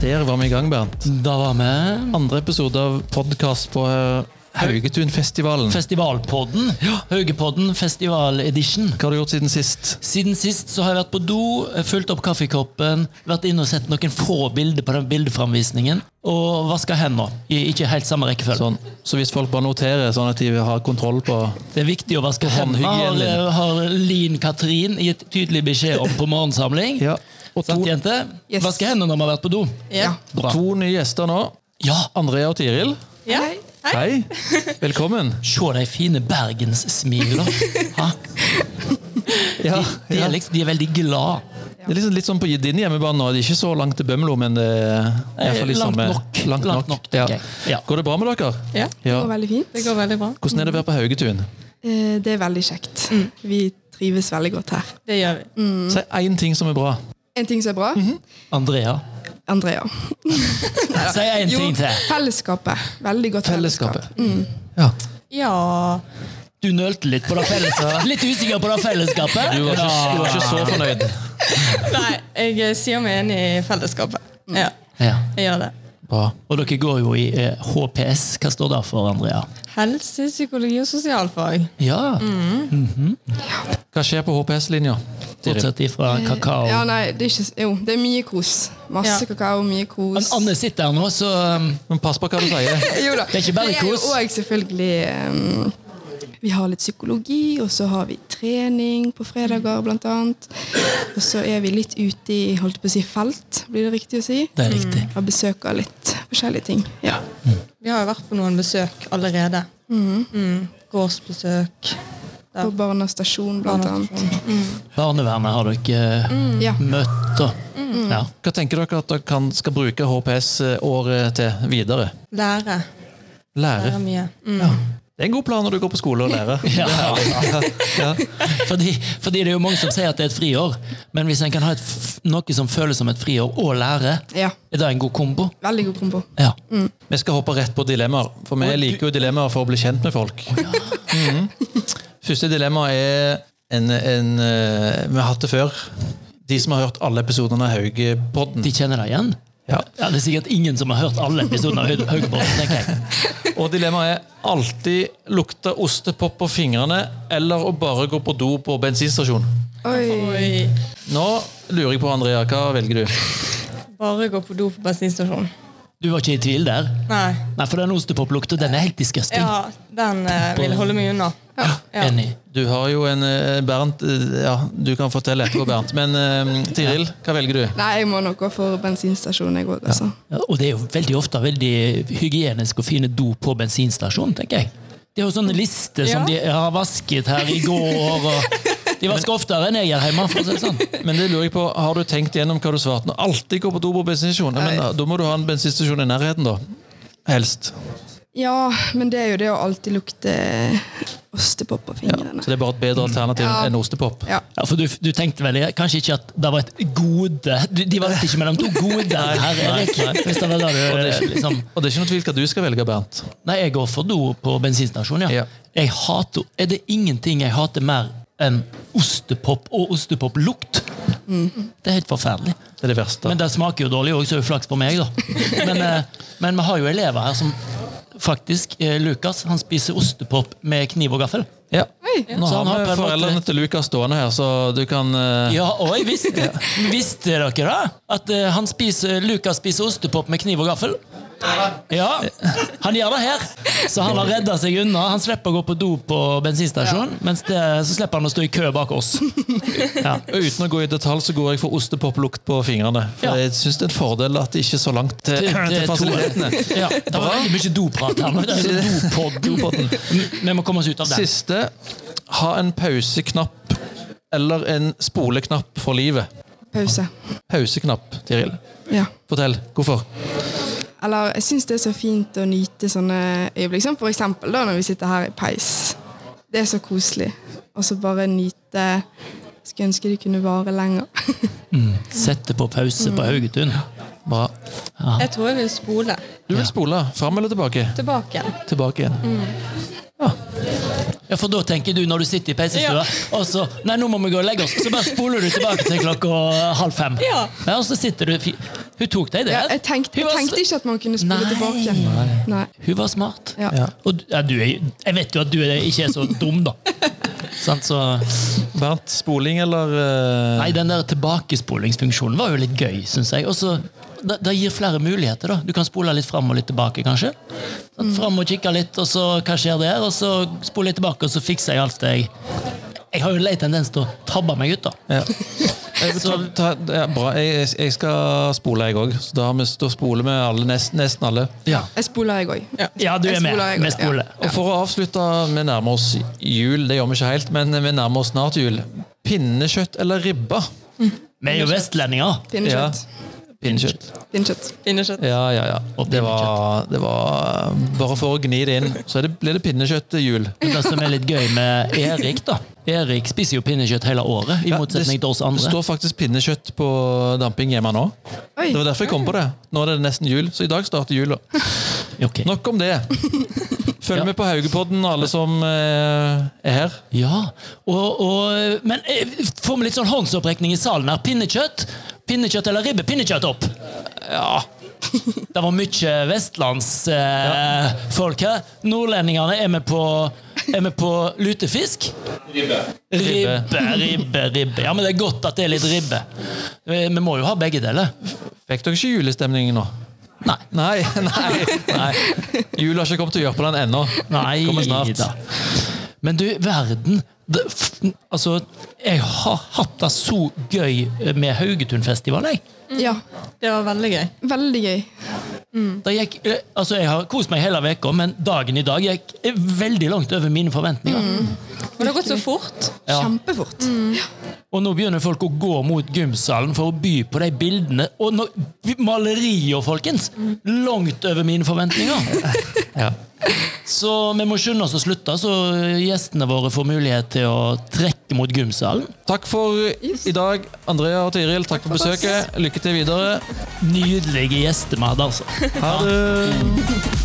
Der var vi i gang, Bernt. Da var vi Andre episode av podkast på eh, Haugetunfestivalen. Festivalpodden. Haugepodden festival edition. Hva har du gjort siden sist? Siden sist så har jeg vært på do, fulgt opp kaffekoppen, vært inne og sett noen få bilder på den bildeframvisningen, og vaska hendene. I ikke helt samme rekkefølge. Sånn. Så hvis folk bare noterer, sånn at de har kontroll på Det er viktig å vaske hendene, Håndhygienen har, eh, din. har Linn Katrin gitt tydelig beskjed om på morgensamling. Ja. Og to, Sant, jente? Yes. Vaske hendene når vi har vært på do. Ja. og to nye gjester nå. Ja, Andrea og Tiril. ja. Hei. Velkommen. se de fine bergenssmila. Ja. Ja, De, ja. er liksom, de er veldig glad. Det er liksom, litt sånn på din hjemmebane nå. Det er ikke så langt til Bømlo, men det er i hvert fall litt Eh, Langt sånn med- nok. Langt nok. Langt nok, ja. tenker jeg. Ja. Går det bra med dere? Ja. Ja. Det går veldig fint. Det går veldig bra. Hvordan er det å være på Haugetun? Eh, Det er veldig kjekt. Mm. Vi trives veldig godt her. Det gjør vi. Mm. Si én ting som er bra. En ting som er bra Mhm. Andrea, Andrea. si én ting til. Fellesskapet. Veldig godt Fellesskapet. fellesskap. Ja. Ja Du nølte litt på det fellesskapet. Litt usikker på det fellesskapet. Du var ikke, du var ikke så fornøyd. Nei, jeg eh, sier meg enig i fellesskapet. Ja, Ja. jeg gjør det. Bra. Og dere går jo i eh, HPS. Hva står det for, Andrea? Mm. Helse, psykologi og sosialfag. Ja, Hva skjer på HPS-linja? Fortsatt ifra kakao. Ja, nei, det er ikke Jo, det er mye kos. Masse Ja. kakao, mye Men kos. Anne sitter her nå, så um, Men pass på hva du sier. Jo da. Det er ikke bare kos. Og selvfølgelig um, Vi har litt psykologi, og så har vi trening på fredager, blant annet. Og så er vi litt ute i holdt på å si felt, blir det riktig å si. Det er riktig. Og besøker litt forskjellige ting. Ja. Vi har jo vært på noen besøk allerede. Mm. Gårdsbesøk. Ja. På Barnas stasjon, Mm. blant annet. Barnevernet har dere eh, Ja. møtt, da. Ja. Hva tenker dere at dere kan, skal bruke HPS-året til videre? Lære. Lære. Lære mye. Mm. Ja. Det er en god plan når du går på skole og lærer. Ja. Ja. Fordi, fordi det er jo mange som sier at det er et friår, men hvis en kan ha et, f- noe som føles som et friår og lære, Ja. er det en god kombo? Veldig god kombo. Ja. Vi skal hoppe rett på dilemmaer, for vi liker jo dilemmaer for å bli kjent med folk. Mhm. Første dilemma er en, en eh, Vi har hatt det før. De som har hørt alle episodene av Haugepodden. De kjenner deg igjen? Ja. Ja, Det er sikkert ingen som har hørt alle episodene av Høy- Høydeborg, tenker jeg. Og dilemmaet er alltid lukte ostepop på fingrene eller å bare gå på do på bensinstasjon. Oi. Oi. Nå lurer jeg på, Andrea, hva velger du? Bare gå på do på bensinstasjonen. Du var ikke i tvil der? Nei. Nei, for den ostepoplukta, den er helt disgusting. Ja, den eh, vil holde meg unna. Ja. Enig. Du har jo en eh, Bernt eh, Ja, du kan fortelle etterpå, Bernt. Men eh, Tiril, hva velger du? Nei, jeg må nok gå for bensinstasjon, jeg òg, altså. Ja, og det er jo veldig ofte veldig hygienisk og fine do på bensinstasjonen, tenker jeg. De har jo sånne lister som Ja. de har vasket her i går. Og de vasker oftere enn jeg gjør hjemme. For å si det sånn. Men det lurer jeg på, Har du tenkt gjennom hva du svarte? nå? Alltid gå på do på bensinstasjon? Ja, Men eh, da, da må du ha en bensinstasjon i nærheten, da. Helst. Ja, men det er jo det å alltid lukte ostepop på fingrene. Så det er bare et bedre alternativ Ja. enn ostepop. Ja. Ja, for du, du tenkte vel kanskje ikke at det var et gode du, De valgte ikke mellom to goder her, Erik. Hvis det var det du, liksom. Og det er ikke noe tvil hva du skal velge, Bernt. Nei, jeg går for do på bensinstasjonen, ja. Ja. Jeg hater, er det ingenting jeg hater mer enn ostepop og ostepoplukt? Det er helt forferdelig. Det er det verste. Men det smaker jo dårlig òg, så er det flaks på meg, da. Men, eh, men vi har jo elever her som faktisk eh, Lukas han spiser ostepop med kniv og gaffel. ja. Oi. Nå Så har han har på vi en måte- foreldrene til Lukas stående her, så du kan eh, Ja, og jeg visste, visste dere da at eh, han spiser, Lukas spiser ostepop med kniv og gaffel? Ja, han gjør det her. Så han har redda seg unna. Han slipper å gå på do på bensinstasjonen, mens det, så slipper han å stå i kø bak oss. Ja. Uten å gå i detalj så går jeg for ostepoplukt på fingrene. For Ja. Jeg syns det er en fordel at det ikke er så langt til, Det- til det- fasilitetene. Ja, det var veldig mye doprat her. nå. Det er sånn dopod. Dopodden. Vi må komme oss ut av det. Siste ha en pauseknapp eller en spoleknapp for livet. Pause. Pauseknapp, Tiril. Ja. Fortell hvorfor. Eller jeg syns det er så fint å nyte sånne øyeblikk, som for eksempel da når vi sitter her i peis. Det er så koselig. Og så bare nyte Skulle ønske det kunne vare lenger. Sette på pause på Haugetun. Bra. Jeg tror jeg vil spole Du vil spole fram eller tilbake? tilbake. Tilbake igjen. Ja, For da tenker du når du sitter i peisestua, og så Nei, nå må vi gå og legge oss. Så bare spoler du tilbake til klokka halv fem. Ja. og så sitter du fi- Hun tok deg i det. Ja, jeg, tenkte, hun, jeg var, tenkte ikke at man kunne spole Nei. tilbake. Nei. hun var smart. Ja. Ja. Og du- ja, du er, jeg vet jo at du er, ikke er så dum, da. Sant, så Bernt, spoling eller eh, Nei, den der tilbakespolingsfunksjonen var jo litt gøy, syns jeg. Og så da, da gir flere muligheter, da. Du kan spole litt fram og litt tilbake, kanskje. Mm. Sånn, Fram og kikke litt, og så hva skjer der? Og så spoler jeg tilbake, og så fikser jeg alt det jeg Jeg har jo lei tendens til å tabbe meg ut, da. Ja. Jeg vil ta- ta- ja, bra. Jeg, jeg- jeg skal spole, jeg òg. Da, har vi- da spoler vi alle, nest, nesten alle. Ja, Jeg spoler, jeg òg. du Jeg er med. spoler, jeg Vi går. spoler. Og For å avslutte, vi nærmer oss jul. Det gjør vi ikke helt, men vi nærmer oss snart jul. Pinnekjøtt eller ribba? Vi er jo vestlendinger. Pinnekjøtt. Pinnekjøtt. Pinnekjøtt. Pinnekjøtt. Ja, ja, ja. Og Det var, det var um, Bare for å gni det inn, så er det, blir det pinnekjøtt til jul. Men Det som er litt gøy med Erik, da. Erik spiser jo pinnekjøtt hele året, i Ja, motsetning det, til oss det andre. står faktisk pinnekjøtt på damping hjemme nå. Oi. Det var derfor jeg kom på det. Nå er det nesten jul, så i dag starter jula. Ok. Nok om det. Følg Ja. med på Haugepodden, alle som eh, er her. Ja, og, og, men eh, får vi litt sånn håndsopprekning i salen her? Pinnekjøtt? Pinnekjøtt eller ribbe? Pinnekjøtt opp! Ja. Det var mye vestlandsfolk eh, folk her. Nordlendingene er med på, er med på lutefisk. Ribbe. Ribbe, ribbe, ribbe. Ja, men det er godt at det er litt ribbe. Eh, Vi må jo ha begge deler. Fikk dere ikke julestemning nå? Nei. Nei, nei, nei. Jul har ikke kommet til å gjøre på den ennå. Nei Kommer snart. da. Men du, verden det, f, Altså, jeg har hatt det så gøy med Haugetunfestivalen, jeg. Ja. Det var veldig gøy. Veldig gøy. Da gikk, eh, altså jeg har kost meg hele veka, men dagen i dag gikk eh, veldig langt over mine forventninger. Men det har gått så fort. Ja. Kjempefort. Og nå begynner folk å gå mot gymsalen for å by på de bildene. Og nå, malerier, folkens! Langt over mine forventninger. Ja. Så vi må skynde oss å slutte, så gjestene våre får mulighet til å trekke mot gymsalen. Takk for i dag, Andrea og Tiril. Takk for besøket. Lykke til videre. Nydelige gjester vi hadde, altså. Ha det.